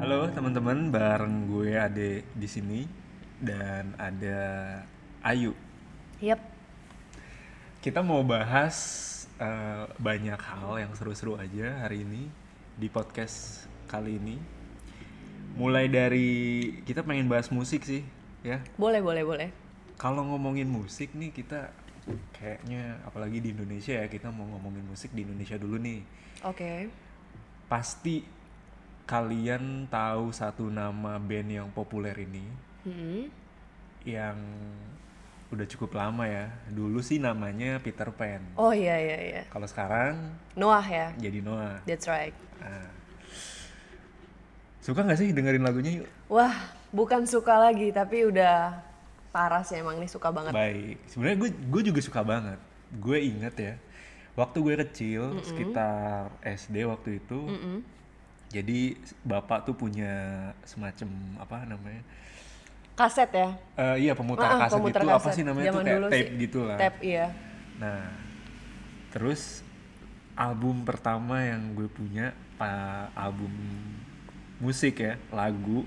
Halo teman-teman, bareng gue Ade di sini dan ada Ayu. Yap, Kita mau bahas eh, banyak hal yang seru-seru aja hari ini di podcast kali ini. Mulai dari kita pengen bahas musik sih, ya. boleh boleh boleh. Kalau ngomongin musik nih kita kayaknya apalagi di Indonesia ya kita mau ngomongin musik di Indonesia dulu nih. Oke. Pasti kalian tahu satu nama band yang populer ini Mm-mm. yang udah cukup lama ya. Dulu sih namanya Peter Pan. Oh iya iya iya. Kalau sekarang Noah ya. jadi Noah. That's right. Nah. Suka nggak sih dengerin lagunya? Yuk? Wah, bukan suka lagi tapi udah parah sih emang nih suka banget. Baik. Sebenarnya gue gue juga suka banget. Gue inget ya. Waktu gue kecil sekitar SD waktu itu. Mm-mm. Jadi bapak tuh punya semacam apa namanya? Kaset ya. Eh, iya pemutar Ah, ah, kaset pemutar itu apa kaset. sih namanya tuh Zaman kayak dulu tape sih. gitu lah. Tap iya. Nah, terus album pertama yang gue punya, pa- album musik ya, lagu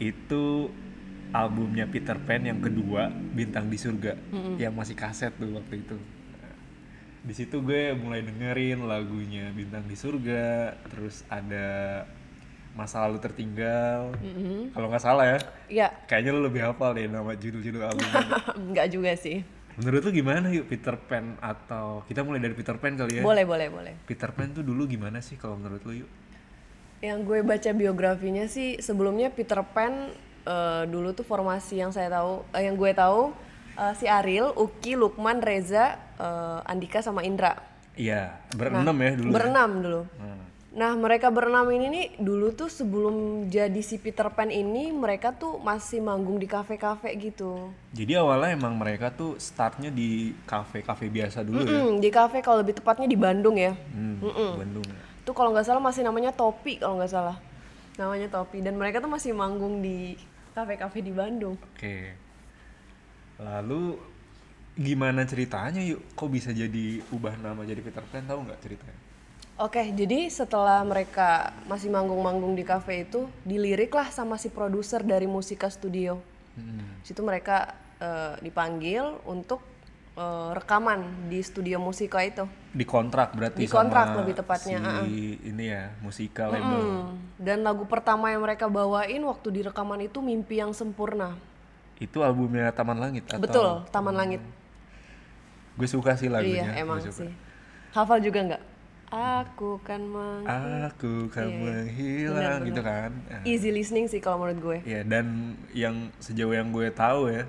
itu albumnya Peter Pan yang kedua, Bintang di Surga, yang masih kaset tuh waktu itu. Nah, Di situ gue mulai dengerin lagunya Bintang di Surga, terus ada Masa Lalu Tertinggal. Kalau nggak salah ya, Iya. kayaknya lo lebih hafal deh nama judul-judul albumnya. Enggak juga sih. Menurut lu gimana yuk Peter Pan atau kita mulai dari Peter Pan kali ya? Boleh boleh boleh. Peter Pan tuh dulu gimana sih kalau menurut lu yuk? Yang gue baca biografinya sih sebelumnya Peter Pan eh, dulu tuh formasi yang saya tahu eh, yang gue tahu eh, si Ariel, Uki, Lukman, Reza, eh, Andika sama Indra. Iya, berenam ya dulu. ya? Nah, Berenam dulu. Hmm. Nah, mereka berenam ini nih dulu tuh sebelum jadi si Peter Pan ini mereka tuh masih manggung di kafe-kafe gitu. Jadi awalnya emang mereka tuh startnya di kafe-kafe biasa dulu ya. Mm, di kafe kalau lebih tepatnya di Bandung ya. Hmm, Bandung. ya. Tuh kalau nggak salah masih namanya Topi kalau nggak salah. Namanya Topi dan mereka tuh masih manggung di kafe-kafe di Bandung. Oke. Lalu gimana ceritanya yuk? Kok bisa jadi ubah nama jadi Peter Pan tahu nggak ceritanya? Oke, jadi setelah mereka masih manggung-manggung di kafe itu diliriklah sama si produser dari Musika Studio. Hmm. situ mereka eh, dipanggil untuk eh, rekaman di studio musika itu Dikontrak berarti Dikontrak sama lebih tepatnya, si ini ya, musikal label. Hmm, dan lagu pertama yang mereka bawain waktu di rekaman itu mimpi yang sempurna Itu albumnya Taman Langit atau betul taman langit Gue suka sih lagunya. gue iya emang suka. sih hafal juga nggak aku kan meng Aku kan Iya, iya. menghilang Benar, gitu kan. Nah, easy listening sih kalau menurut gue Ya dan yang sejauh yang gue tahu ya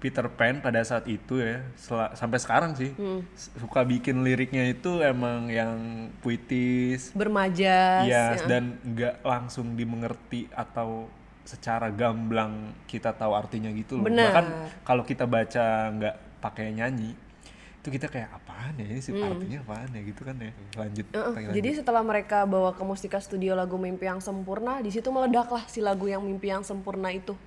Peter Pan pada saat itu ya sela- sampai sekarang sih Hmm. s- suka bikin liriknya itu emang yang puitis, bermajas ya ya. dan nggak langsung dimengerti atau secara gamblang kita tahu artinya gitu loh. Benar. Bahkan kalau kita baca nggak pakai nyanyi itu kita kayak apaan ya ini sih artinya apaan ya gitu kan ya. Lanjut. Hmm. Heeh, pengen lanjut. Jadi setelah mereka bawa ke Mustika Studio lagu Mimpi yang Sempurna, di situ meledaklah si lagu yang Mimpi yang Sempurna itu.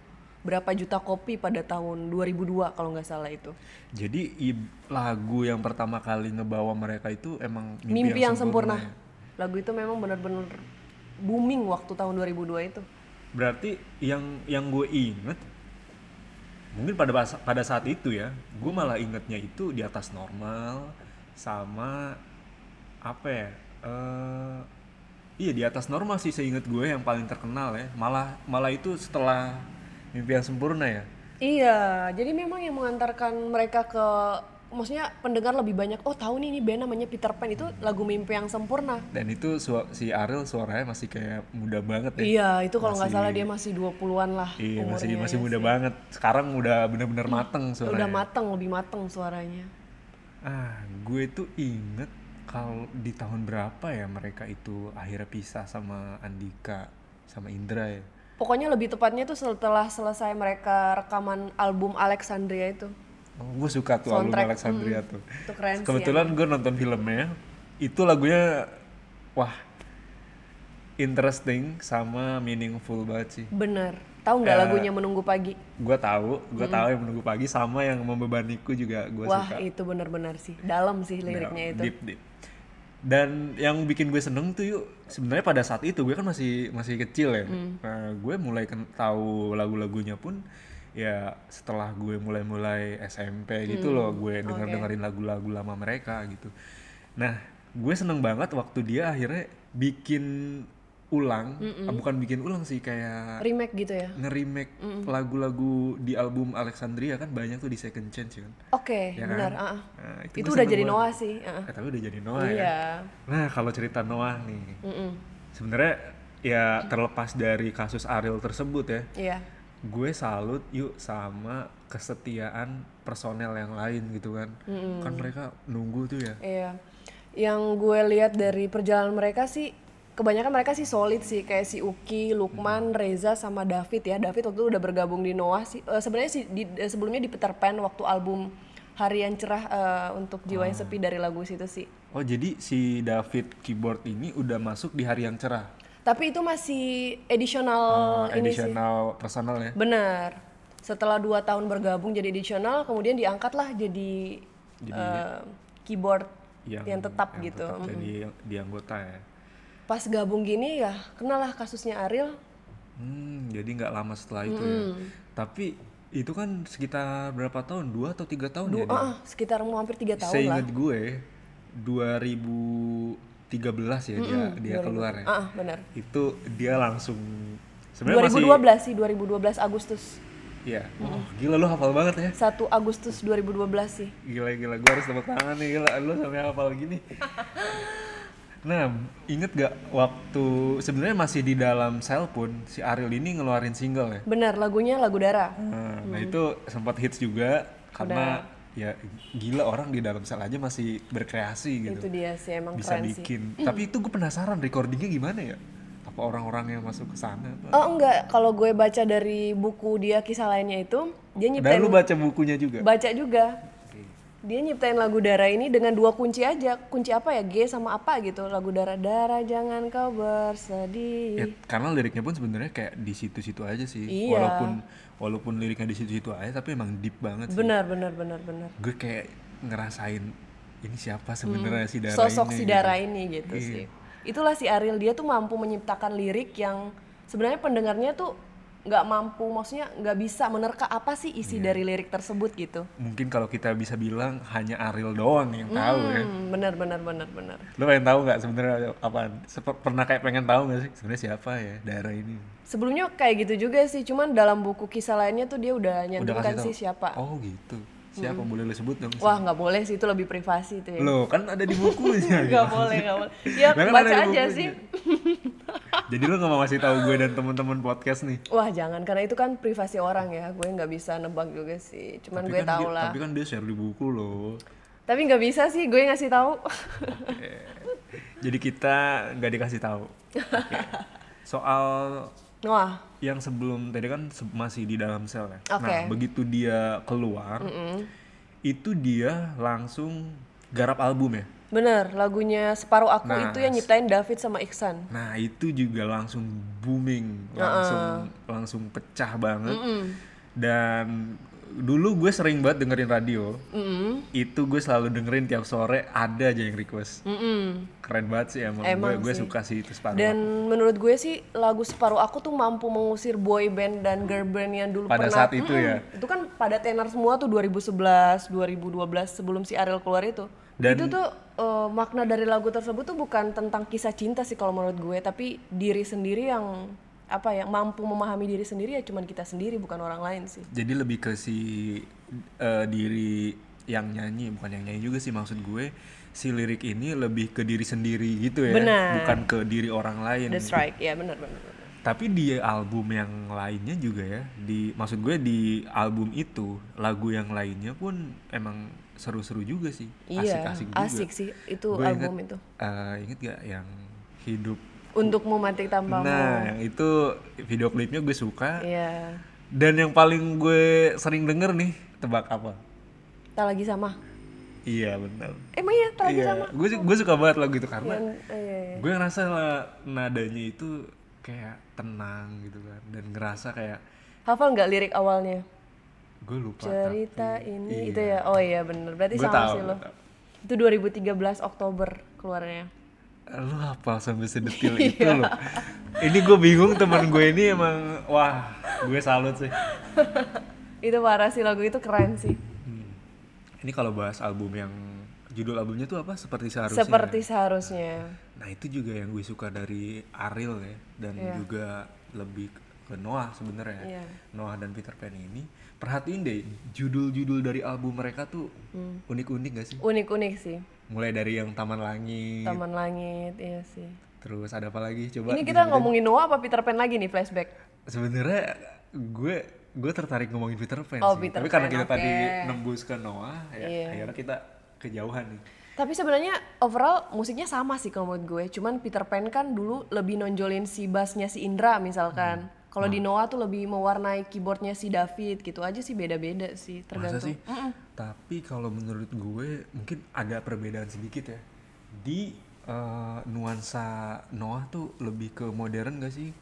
Berapa juta kopi pada tahun 2002 kalau nggak salah itu. Jadi i- lagu yang pertama kali ngebawa mereka itu emang mimpi, Mimpi, yang, sempurna. sempurna. ya. Lagu itu memang benar-benar booming waktu tahun 2002 itu. Berarti yang yang gue inget mungkin pada basa- pada saat itu ya, gue malah ingetnya itu di atas normal sama apa ya? eh, iya di atas normal sih seinget gue yang paling terkenal ya. Malah malah itu setelah mimpi yang sempurna ya. Iya, jadi memang yang mengantarkan mereka ke maksudnya pendengar lebih banyak oh tahu nih ini band namanya Peter Pan itu lagu Mimpi yang Sempurna. Dan itu sua- si Ariel suaranya masih kayak muda banget ya. Iya, itu kalau nggak salah dia masih 20-an lah Iya masih umurnya. ya. masih muda banget. Sekarang udah bener-bener mateng suaranya. Udah mateng, lebih mateng suaranya. Ah, gue tuh inget kalau di tahun berapa ya mereka itu akhirnya pisah sama Andika sama Indra ya. Pokoknya lebih tepatnya tuh setelah selesai mereka rekaman album Alexandria itu. Oh, gue suka tuh album Soundtrack, Alexandria tuh. Itu keren sih. Kebetulan gue nonton filmnya, itu lagunya wah interesting sama meaningful banget sih. Bener. Eh, Tahu nggak lagunya Menunggu Pagi? Gue tahu, gue tahu yang menunggu pagi sama yang membebaniku juga gue Hmm. Wah suka. Ya, itu bener-bener sih. Dalam sih liriknya itu. Nah, Deep deep. dan yang bikin gue seneng tuh yuk sebenarnya pada saat itu gue kan masih masih kecil ya Hmm. Nah, gue mulai ken- tahu lagu-lagunya pun ya setelah gue mulai-mulai SMP Hmm. gitu loh gue denger dengerin lagu-lagu lama mereka gitu nah gue seneng banget waktu dia akhirnya bikin ulang ah, bukan bikin ulang sih kayak remake gitu ya ngerimake lagu-lagu di album Alexandria kan banyak tuh di Second Chance kan oke Ya kan? benar ah, ah. Nah, itu, gue udah seneng jadi banget. Noah sih ah, ah. Eh, tapi udah jadi Noah ya iya Nah, kalau cerita Noah nih, Mm-mm. sebenarnya ya terlepas dari kasus Ariel tersebut ya, iya gue salut yuk sama kesetiaan personel yang lain gitu kan. Kan mereka nunggu tuh ya. Iya. Yang gue lihat dari perjalanan mereka sih kebanyakan mereka sih solid sih kayak si Uki, Hmm. Lukman, Reza sama David ya. David waktu itu udah bergabung di Noah sih. Eh, sebenarnya sih di- eh, sebelumnya di Peter Pan waktu album Harian Cerah eh, untuk Hmm. Jiwa yang Sepi dari lagu situ sih. Oh, jadi si David keyboard ini udah masuk di hari yang cerah. Tapi itu masih additional Eh, Oh, ini sih. additional personal ya. Benar. Setelah dua tahun bergabung jadi additional, kemudian diangkatlah jadi, eh, keyboard yang, tetap yang gitu. tetap jadi di anggota ya. pas gabung gini ya kenalah kasusnya Ariel Hmm, jadi nggak lama setelah itu ya. Tapi itu kan sekitar berapa tahun? Dua atau tiga tahun ya? dia? Ah, sekitar mau hampir tiga tahun lah Seingat gue 2013 ya dia dia keluar ya. ah benar Itu dia langsung sebenarnya masih 2012 sih 2012 Agustus Iya. Oh, gila lu hafal banget ya. 1 Agustus 2012 sih Gila gila gue harus tepuk tangan nih gila lu sampai hafal gini. Nah, inget gak waktu sebenarnya masih di dalam sel pun si Ariel ini ngeluarin single ya. benar lagunya lagu Dara Nah, nah itu sempat hits juga karena ya gila orang di dalam sel aja masih berkreasi gitu. itu dia sih emang bisa keren sih Hmm. bikin. Tapi itu gue penasaran recordingnya gimana ya? Apa orang-orang yang masuk ke sana? apa? oh enggak kalau gue baca dari buku dia kisah lainnya itu dia Dan nyiptain lu baca bukunya juga. baca juga dia nyiptain lagu Dara ini dengan dua kunci aja kunci apa ya G sama apa gitu lagu Dara Dara jangan kau bersedih Ya, karena liriknya pun sebenarnya kayak di situ-situ aja sih. Iya. Walaupun walaupun liriknya di situ-situ aja, tapi emang deep banget. sih. benar benar benar benar Gue kayak ngerasain ini siapa sebenarnya si Dara Hmm. sosok ini. si gitu. Dara ini gitu sih. Itulah si Ariel dia tuh mampu menciptakan lirik yang sebenarnya pendengarnya tuh nggak mampu, maksudnya nggak bisa menerka apa sih isi Iya. dari lirik tersebut gitu. Mungkin kalau kita bisa bilang hanya Ariel doang yang tahu ya. Hmm, benar benar benar benar. Lu pengen tahu nggak sebenarnya apaan? Seper- pernah kayak pengen tahu nggak sih sebenarnya siapa ya Dara ini? Sebelumnya kayak gitu juga sih, cuman dalam buku kisah lainnya tuh dia udah Udah nyandungkan kasih tahu. Ya, sih siapa. Hmm. Oh gitu. Siapa boleh lu sebut dong? Wah nggak boleh sih itu lebih privasi itu ya. Loh, kan ada di bukunya. Nggak boleh nggak boleh. Ya Lah, kan baca ada di aja bukunya. sih. Jadi lu gak mau ngasih tahu gue dan teman-teman podcast nih. Wah jangan karena itu kan privasi orang ya, gue nggak bisa nebak juga sih. Cuman gue kan tahu dia, lah. Tapi kan dia share di buku loh. Tapi nggak bisa sih gue ngasih tahu. Jadi kita nggak dikasih tahu. Oke. Soal Wah, yang sebelum tadi kan se- masih di dalam sel ya. Oke. Nah, begitu dia keluar, itu dia langsung garap album ya. bener lagunya separuh aku Nah, itu yang nyiptain David sama Iksan. Nah, itu juga langsung booming, langsung langsung pecah banget. Dan dulu gue sering banget dengerin radio. Itu gue selalu dengerin tiap sore ada aja yang request. Mm-mm. Keren banget sih emang. Emang gue gue sih. suka sih itu separuh. Dan menurut gue sih lagu separuh aku tuh mampu mengusir boy band dan girl band yang dulu Pada pernah. saat itu ya? Itu kan pada tenar semua tuh 2011, 2012 sebelum si Ariel keluar itu. Dan- itu tuh eh, makna dari lagu tersebut tuh bukan tentang kisah cinta sih kalau menurut gue, tapi diri sendiri yang apa ya mampu memahami diri sendiri ya cuman kita sendiri bukan orang lain sih. Jadi lebih ke si eh, diri yang nyanyi, bukan yang nyanyi juga sih maksud gue. Si lirik ini lebih ke diri sendiri gitu ya, Benar. bukan ke diri orang lain. That's right, ya benar-benar. benar. Tapi di album yang lainnya juga ya, di maksud gue di album itu lagu yang lainnya pun emang seru-seru juga sih, Iya, asik-asik juga. asik sih itu Gue album inget, itu. eh, inget gak yang hidup? Untukmu mati tanpamu. Nah, yang itu video klipnya gue suka. Iya. Dan yang paling gue sering denger nih, tebak apa? Tak lagi sama. Iya benar. Emang ya, tak lagi sama. Iya, gue su- gue suka banget lagu itu karena Yang- eh, iya, iya. gue ngerasa lah nadanya itu kayak tenang gitu kan, dan ngerasa kayak Hafal nggak lirik awalnya? gue lupa. Cerita ini itu ya. Oh iya bener. Berarti Gue sama tahu, sih gue lo. tahu. Itu 2013 Oktober keluarnya. lu hafal sampai sedetil itu loh Iya. ini gue bingung teman gue ini emang wah gue salut sih itu parah sih lagu itu keren sih Hmm. ini kalau bahas album yang judul albumnya tuh apa seperti seharusnya seperti seharusnya nah itu juga yang gue suka dari Ariel ya dan Iya. juga lebih ke Noah sebenarnya Iya. Noah dan Peter Pan ini perhatiin deh judul-judul dari album mereka tuh Hmm. unik-unik gak sih unik-unik sih mulai dari yang Taman Langit Taman Langit iya sih terus ada apa lagi coba ini kita ngomongin Noah apa Peter Pan lagi nih flashback sebenarnya gue gue tertarik ngomongin Peter Pan Oh, sih Peter tapi karena Pan, kita oke. tadi nembus ke Noah ya Iya. akhirnya kita kejauhan nih tapi sebenarnya overall musiknya sama sih kalau menurut gue cuman Peter Pan kan dulu lebih nonjolin si bassnya si Indra misalkan Hmm. kalau di Noah tuh lebih mewarnai keyboardnya si David gitu aja sih beda-beda sih masa tergantung sih tapi kalau menurut gue mungkin ada perbedaan sedikit ya di eh, nuansa Noah tuh lebih ke modern gak sih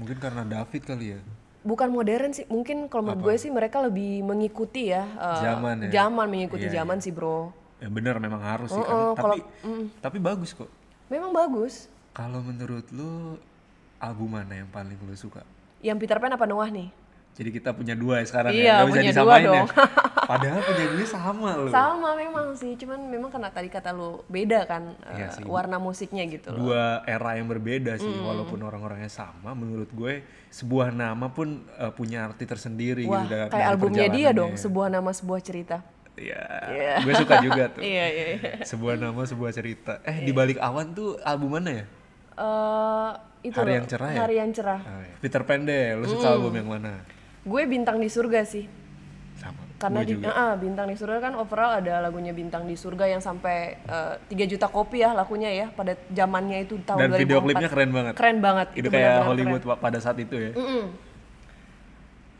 mungkin karena David kali ya bukan modern sih mungkin kalau menurut gue sih mereka lebih mengikuti ya eh, Zaman ya. zaman mengikuti Iya, iya. zaman sih bro ya benar memang harus sih karena- Oh, oh, tapi kalau- tapi bagus kok memang bagus kalau menurut lu album mana yang paling lu suka yang Peter Pan apa Noah nih Jadi kita punya dua ya sekarang Iya, ya, nggak bisa punya dua disamain ya. dong. Padahal punya gue sama loh. sama memang sih cuman memang karena tadi kata lu beda kan eh, Iya sih. warna musiknya gitu loh Dua era yang berbeda sih, walaupun orang-orangnya sama, menurut gue sebuah nama pun eh, punya arti tersendiri wah gitu dari- dari kayak albumnya dia perjalanannya. dong sebuah nama sebuah cerita Iya, Iya. gue suka juga tuh. iya iya iya. sebuah nama, sebuah cerita. Eh, di balik awan tuh album mana ya? Eh, itu Hari loh, yang cerah ya? hari yang cerah Oh, iya. Peter Pan deh, lu suka album yang mana? gue bintang di surga sih Sama. karena gue di juga. Ah, bintang di surga kan overall ada lagunya bintang di surga yang sampai eh, 3 juta kopi ya lakunya ya pada zamannya itu tahun Dan 2004 video klipnya keren banget. keren banget Itu benar-benar kayak keren. Hollywood wa- pada saat itu ya. Mm-mm.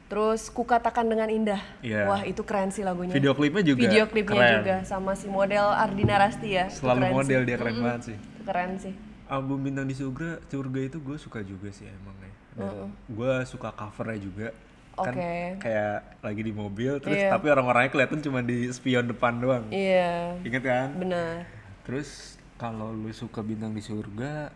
terus kukatakan dengan indah Iya. wah itu keren sih lagunya Video klipnya juga Video klipnya keren. juga sama si model Ardina Rasti ya Itu Selalu keren model Kan. sih. dia keren banget sih. Itu keren sih album bintang di surga surga itu gue suka juga sih emangnya dan gue suka covernya juga kan Oke. kayak lagi di mobil terus Iya. tapi orang-orangnya kelihatan cuma di spion depan doang iya inget kan benar terus kalau lu suka bintang di surga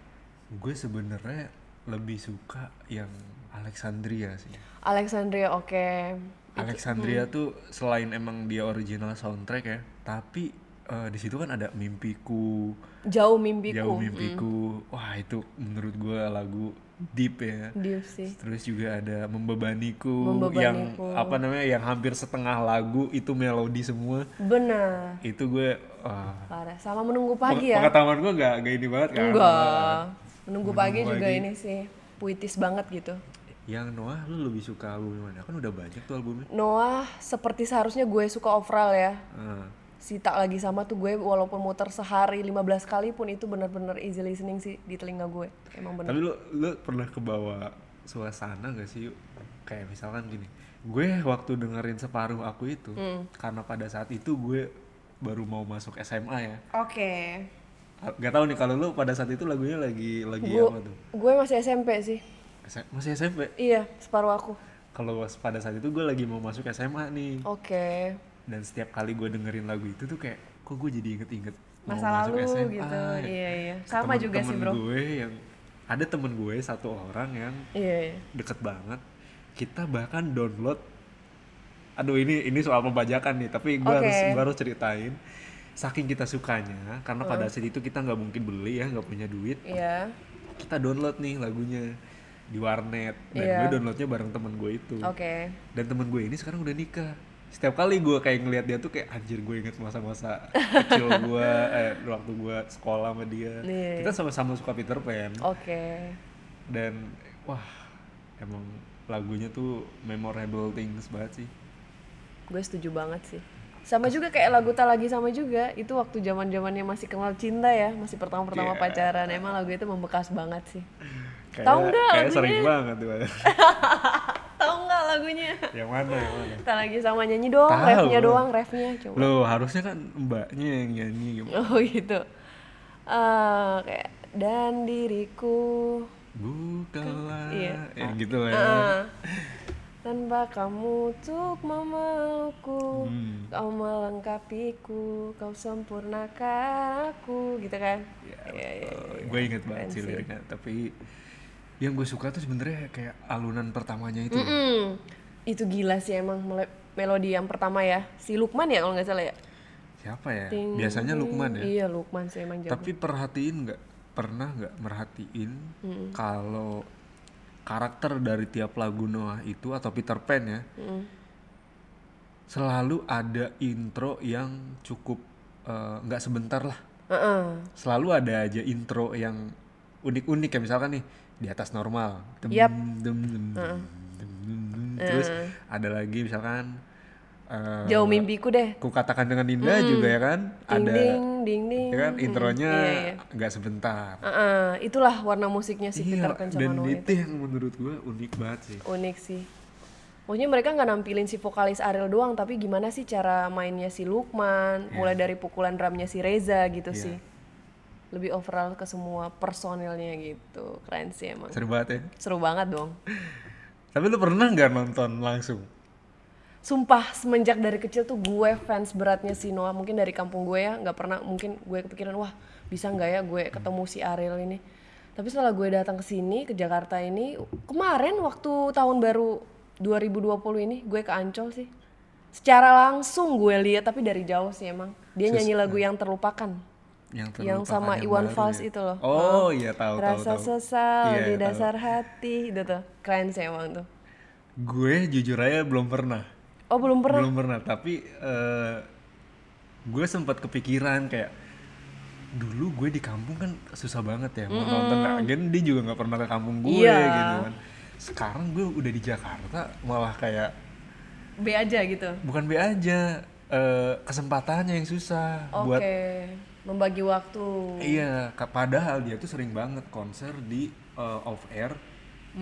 gue sebenarnya lebih suka yang Alexandria sih Alexandria oke Hmm. Alexandria tuh selain emang dia original soundtrack ya tapi eh, di situ kan ada mimpiku jauh mimpiku Mm. jauh mimpiku wah itu menurut gue lagu deep ya Dia sih Terus juga ada membebaniku, Membebaniku. yang apa namanya yang hampir setengah lagu itu melodi semua. benar Itu gue wah, parah sama menunggu peng- pagi ya pengetahuan gue gak, gak ini banget kan. enggak menunggu pagi Menunggu juga pagi. ini sih puitis banget gitu Yang Noah lu lebih suka album mana? Kan udah banyak tuh albumnya. Noah seperti seharusnya gue suka overall ya Ah, si tak lagi sama tuh gue walaupun muter sehari 15 kali pun itu benar-benar easy listening sih di telinga gue emang bener tapi lu lu pernah kebawa suasana gak sih yuk? Kayak misalkan gini, gue waktu dengerin separuh aku itu Hmm. karena pada saat itu gue baru mau masuk SMA ya. oke Gak tahu nih kalau lu pada saat itu lagunya lagi lagi Gue- apa tuh? Gue masih SMP sih. S- Masih SMP? Iya, separuh aku. kalau was- pada saat itu gue lagi mau masuk SMA nih Oke. dan setiap kali gue dengerin lagu itu tuh kayak kok gue jadi inget-inget mau Masa masuk lalu SMA gitu. ya. Iya, iya. Sama Temen- juga sih, temen Bro. gue yang ada temen gue satu orang yang Iya, iya. deket banget kita bahkan download aduh ini ini soal pembajakan nih tapi gue Oke. harus gua harus ceritain saking kita sukanya karena pada saat itu kita nggak mungkin beli ya nggak punya duit Iya. kita download nih lagunya di warnet dan Iya. gue downloadnya bareng temen gue itu Oke. dan temen gue ini sekarang udah nikah setiap kali gue kayak ngelihat dia tuh kayak anjir gue inget masa-masa kecil gue eh, waktu gue sekolah sama dia Iya. kita sama-sama suka Peter Pan Oke. dan wah emang lagunya tuh memorable things banget sih Gue setuju banget sih. Sama juga kayak lagu tak lagi sama juga. Itu waktu zaman-zamannya masih kenal cinta ya, masih pertama-pertama Iya. pacaran. Emang lagu itu membekas banget sih. kayak Tahu nggak kayak lagunya? sering banget tuh Tahu nggak lagunya? yang mana yang mana Tak lagi sama nyanyi doang, Tahu. refnya doang, refnya coba. lo harusnya kan mbaknya yang nyanyi gitu. Oh gitu. Eh, kayak dan diriku bukalah Iya. ya gitu lah ya. Ah. Tanpa kamu untuk memelukku, Hmm. kau melengkapiku, kau sempurnakan aku, gitu kan? Iya, iya, iya. gue inget banget sih liriknya tapi yang gue suka tuh sebenarnya kayak alunan pertamanya Mm. itu Mm-mm. Itu gila sih emang mele- melodi yang pertama ya. Si Lukman ya kalau nggak salah ya. siapa ya Ting, biasanya ting. Lukman ya Iya Lukman sih emang jago. tapi perhatiin nggak pernah nggak merhatiin Mm. kalau karakter dari tiap lagu Noah itu atau Peter Pan ya Mm. selalu ada intro yang cukup eh, nggak sebentar lah Heeh. selalu ada aja intro yang unik-unik ya misalkan nih di atas normal Dem, Yap. dem, dem, dem, dem, dem, dem. terus ada lagi misalkan eh, Jauh mimpiku deh. ku katakan dengan indah juga ya kan Hmm. ada Ding ding ding ding. ya kan intronya Iya, iya. nggak sebentar Heeh, itulah warna musiknya si Iya, Peter Pan kan sama dan Noah itu itu. yang menurut gue unik banget sih Unik sih. Maksudnya mereka nggak nampilin si vokalis Ariel doang, tapi gimana sih cara mainnya si Lukman, mulai dari pukulan drumnya si Reza gitu Iya. sih. Lebih overall ke semua personilnya gitu. Keren sih emang. seru banget ya Seru banget dong. tapi lu pernah nggak nonton langsung Sumpah semenjak dari kecil tuh gue fans beratnya si Noah. Mungkin dari kampung gue ya nggak pernah mungkin gue kepikiran wah bisa nggak ya gue ketemu si Ariel ini. Tapi setelah gue datang ke sini ke Jakarta ini kemarin waktu tahun baru 2020 ini gue ke Ancol sih. Secara langsung gue lihat tapi dari jauh sih emang. Dia nyanyi lagu ya. yang terlupakan. yang, Yang terlupakan, sama yang Iwan baru Fals ya? itu loh. oh iya tahu tahu Rasa tahu. sesal Iya, di tahu. dasar hati itu tuh. Keren sih emang tuh. gue jujur aja belum pernah Oh belum pernah. belum pernah tapi eh, gue sempat kepikiran kayak dulu gue di kampung kan susah banget ya mau nonton agen dia juga nggak pernah ke kampung gue Iya. gitu kan sekarang gue udah di Jakarta malah kayak B aja gitu. bukan B aja eh, kesempatannya yang susah Oke, buat membagi waktu. iya ka- padahal dia tuh sering banget konser di eh, off air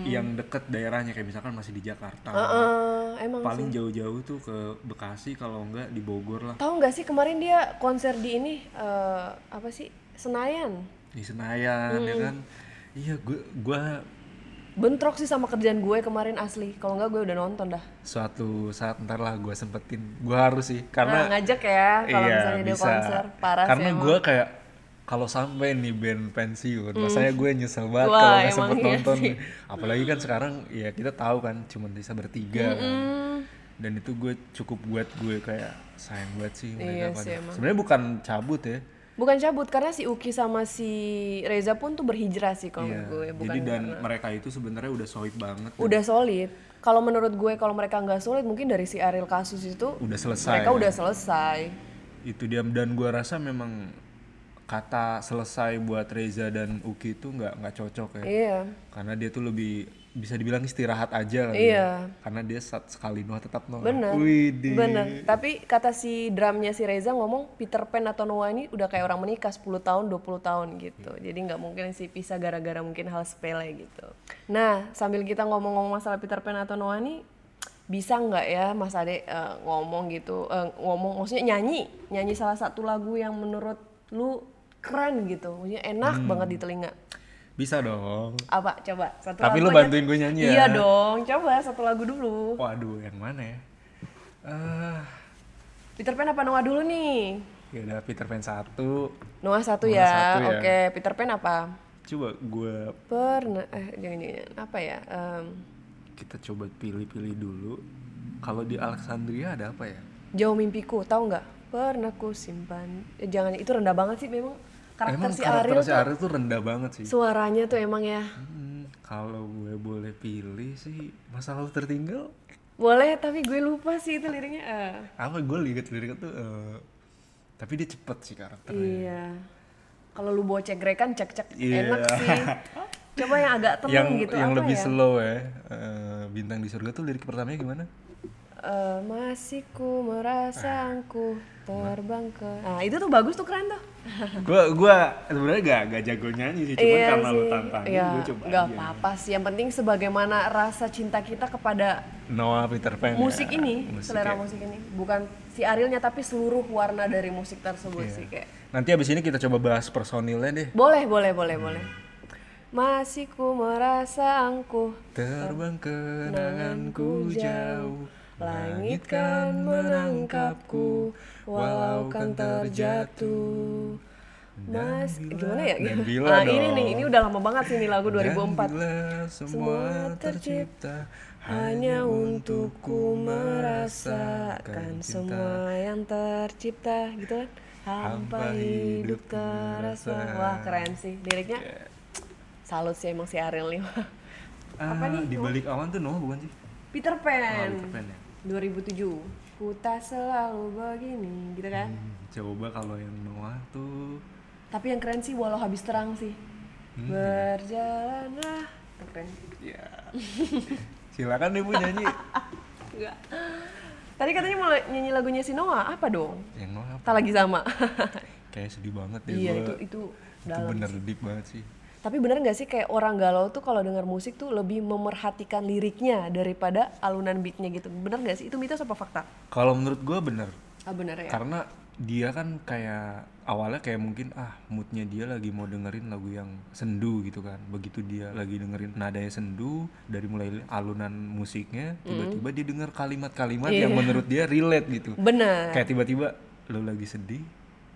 yang deket daerahnya kayak misalkan masih di Jakarta Mm. Heeh, emang paling jauh-jauh tuh ke Bekasi kalau enggak di Bogor lah tahu nggak sih kemarin dia konser di ini eh, apa sih Senayan? di Senayan ya kan iya gue gue Bentrok sih sama kerjaan gue kemarin asli. Kalau nggak gue udah nonton dah. suatu saat ntar lah gue sempetin gue harus sih Nah, karena ngajak ya kalau iya misalnya dia bisa konser parah karena sih emang. Mm. gue kayak kalau sampai nih band pensiun rasanya gue nyesel banget Wah, kalau nggak emang sempet iya nonton sih. nih. apalagi kan sekarang ya kita tahu kan cuma bisa bertiga kan. Hmm, dan itu gue cukup buat gue kayak sayang banget sih Iya mereka sih, pada emang. sebenarnya bukan cabut ya bukan cabut karena si Uki sama si Reza pun tuh berhijrah sih kalau Iya. menurut gue, bukan jadi dan karena- mereka itu sebenarnya udah solid banget dan udah solid. Kalau menurut gue kalau mereka nggak solid mungkin dari si Ariel kasus itu udah selesai mereka kan. udah selesai. itu dia dan gua rasa memang kata selesai buat Reza dan Uki itu nggak nggak cocok ya Iya. karena dia tuh lebih bisa dibilang istirahat aja kali Iya. ya. karena dia saat sekali Noah tetap Noah Bener, Widih. bener. Tapi kata si drumnya si Reza ngomong Peter Pan atau Noah ini udah kayak orang menikah 10 tahun, 20 tahun gitu. Iya. Jadi nggak mungkin sih pisah gara-gara mungkin hal sepele gitu. Nah, sambil kita ngomong-ngomong masalah Peter Pan atau Noah ini, bisa nggak ya Mas Ade eh, ngomong gitu, eh, ngomong maksudnya nyanyi, nyanyi salah satu lagu yang menurut lu keren gitu, maksudnya enak Hmm. banget di telinga. bisa dong Apa? Coba satu Tapi lagu lu aja. bantuin gue nyanyi ya. Iya dong, coba satu lagu dulu. waduh yang mana ya Eh, Peter Pan apa Noah dulu nih? ya udah Peter Pan satu Noah satu Noah ya. satu ya. Oke, Peter Pan apa? coba gua Pernah eh jangan jangan apa ya? Em, kita coba pilih-pilih dulu kalau di Alexandria ada apa ya jauh mimpiku, tahu nggak? Pernah ku simpan. Eh, jangan itu rendah banget sih memang karakter emang si karakter Ariel si tuh Ariel tuh rendah banget sih suaranya tuh emang ya. Hmm, kalau gue boleh pilih sih masa lalu tertinggal Boleh tapi gue lupa sih itu liriknya. Eh, apa gue lihat lirik tuh eh, tapi dia cepet sih karakternya iya. Kalau lu bawa cek grekan cek-cek Iya. enak sih. Coba yang agak tenang yang gitu yang apa lebih ya? slow ya Eh, bintang di surga tuh lirik pertamanya gimana Eh, masih ku merasa engku Ah. terbang ke. Nah, itu tuh bagus tuh keren tuh. gue gue sebenarnya gak gak jago nyanyi sih cuman Iya karena lo sih. tantangin Iya, gue coba nggak aja. apa-apa sih yang penting sebagaimana rasa cinta kita kepada Noah Peter Pan ya. musik ini Musik ya. selera musik ini bukan si Arilnya tapi seluruh warna dari musik tersebut Iya. sih kayak nanti abis ini kita coba bahas personilnya deh boleh boleh boleh boleh masih ku merasa angkuh terbang kenanganku kenanganku jauh jauh kan langit kan menangkapku walau kan terjatuh Mas, kan Dan bila- gimana ya? Dan bila nah, dong. ini nih, ini udah lama banget sih ini lagu Dan 2004. bila semua tercipta hanya untukku merasakan cinta. semua yang tercipta gitu kan. Hampa hidup terasa. Wah, keren sih. Liriknya Iya. salut sih emang si Ariel nih. Ah, Apa nih? Di balik awan tuh Noah bukan sih? Peter Pan. Peter Pan ya? 2007. Ku tak selalu begini gitu kan. Hmm, coba kalau yang Noah tuh Tapi yang keren sih walau habis terang sih. Hmm. Berjalanlah. Keren. ya silakan deh bu nyanyi Enggak. Tadi katanya mau nyanyi lagunya si Noah, apa dong? yang Noah apa? Tak lagi sama. kayak sedih banget deh iya, gua. itu itu Itu dalam. bener deep banget sih Tapi bener nggak sih kayak orang galau tuh kalau denger musik tuh lebih memerhatikan liriknya daripada alunan beatnya gitu. Bener nggak sih? Itu mitos apa fakta? kalau menurut gue bener Ah bener ya. karena dia kan kayak awalnya kayak mungkin ah moodnya dia lagi mau dengerin lagu yang sendu gitu kan begitu dia lagi dengerin nadanya sendu dari mulai alunan musiknya tiba-tiba Hmm. dia denger kalimat-kalimat Iya. yang menurut dia relate gitu Bener. kayak tiba-tiba lo lagi sedih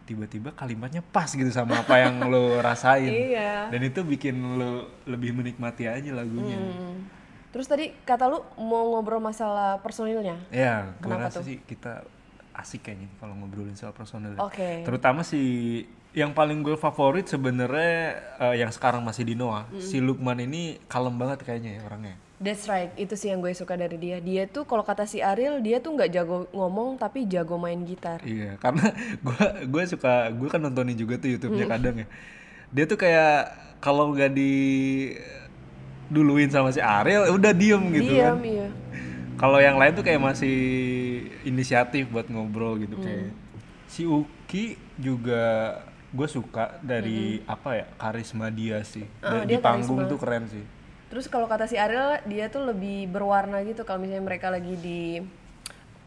tiba-tiba kalimatnya pas gitu sama apa yang lo rasain Iya. dan itu bikin lo lebih menikmati aja lagunya Hmm. Terus tadi kata lu mau ngobrol masalah personilnya. ya gue Kenapa rasa tuh? sih kita asik kayaknya kalau ngobrolin soal personal Oke. terutama si yang paling gue favorit sebenarnya eh, yang sekarang masih di Noah si Lukman ini kalem banget kayaknya ya orangnya That's right, itu sih yang gue suka dari dia. Dia tuh kalau kata si Ariel, dia tuh nggak jago ngomong tapi jago main gitar. Iya, karena gua gua suka gua kan nontonin juga tuh YouTube-nya kadang ya. Dia tuh kayak kalau nggak di duluin sama si Ariel udah diem gitu kan. Diam, iya. Kalau yang lain tuh kayak masih inisiatif buat ngobrol gitu Hmm. kayak. Si Uki juga gue suka dari apa ya karisma dia sih Ah, Da- Hmm. dia di panggung tuh keren sih Terus kalau kata si Ariel, dia tuh lebih berwarna gitu. Kalau misalnya mereka lagi di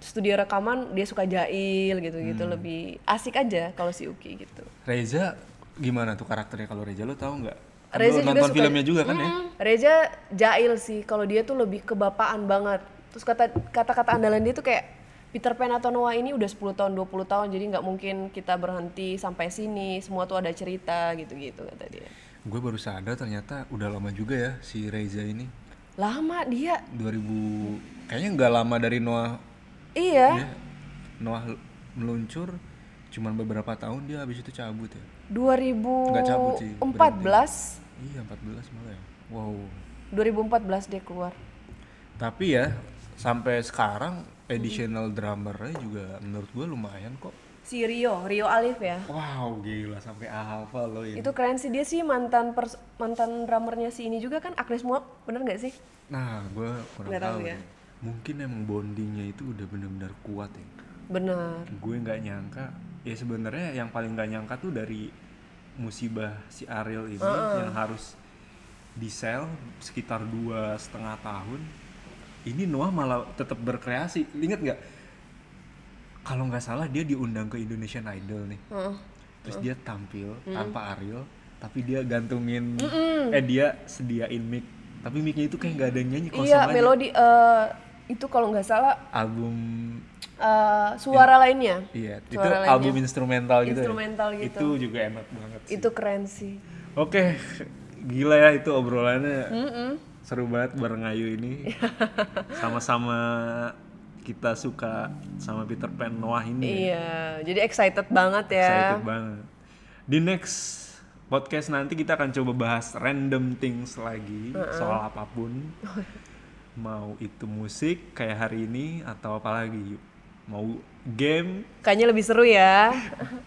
studio rekaman, dia suka jail gitu-gitu. Hmm. Lebih asik aja kalau si Uki gitu. Reza gimana tuh karakternya kalau Reza lo tahu nggak Kan lo Reza juga nonton suka- Hmm. filmnya juga kan ya Reza jail sih, kalau dia tuh lebih kebapaan banget. Terus kata kata-kata andalan dia tuh kayak Peter Pan atau Noah ini udah 10 tahun, 20 tahun, jadi nggak mungkin kita berhenti sampai sini. Semua tuh ada cerita gitu-gitu kata dia. gue baru sadar ternyata udah lama juga ya si Reza ini Lama dia, 2000 kayaknya nggak lama dari Noah iya. ya. Noah meluncur cuman beberapa tahun dia habis itu cabut ya Nggak cabut sih, 2014 iya 14 malah ya wow 2014 dia keluar. tapi ya sampai sekarang additional drummernya juga menurut gue lumayan kok Si Rio, Rio Alif ya. wow gila sampai hafal lo ya. ini Iya. Itu keren sih dia sih mantan pers- mantan drummernya si ini juga kan Agnes Mo, bener nggak sih? nah gue kurang Nggak tahu tahu ya. nih. mungkin emang bondingnya itu udah benar-benar kuat ya Bener. gue nggak nyangka ya sebenarnya yang paling nggak nyangka tuh dari musibah si Ariel ini yang harus disel sekitar dua setengah tahun ini Noah malah tetap berkreasi inget nggak kalau nggak salah dia diundang ke Indonesian Idol nih Heeh. terus dia tampil Hmm. tanpa Ariel tapi dia gantungin eh dia sediain mic tapi micnya itu kayak nggak ada yang nyanyi kosong Iya, aja. melodi eh, itu kalau nggak salah album eh, suara lainnya. iya itu Suara lainnya. album instrumental gitu ya. Instrumental gitu. itu juga enak banget sih. Itu keren sih. Oke, gila ya itu obrolannya. Seru banget bareng Ayu ini. Sama-sama kita suka sama Peter Pan Noah ini. Iya, jadi excited banget ya. Excited banget. Di next podcast nanti kita akan coba bahas random things lagi soal apapun. Mau itu musik kayak hari ini atau apa lagi? Mau game, Kayaknya lebih seru ya.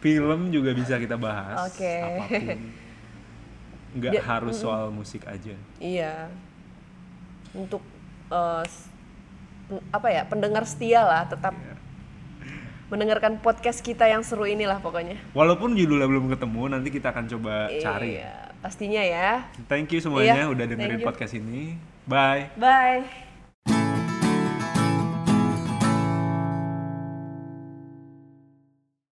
film juga bisa kita bahas. Oke. Apapun. Nggak harus soal musik aja. iya. Untuk eh, s- apa ya? Pendengar setia lah tetap mendengarkan podcast kita yang seru inilah pokoknya. Walaupun judulnya belum ketemu, nanti kita akan coba cari. Iya, pastinya ya. Thank you semuanya Iya, udah dengerin thank you. podcast ini. Bye. Bye.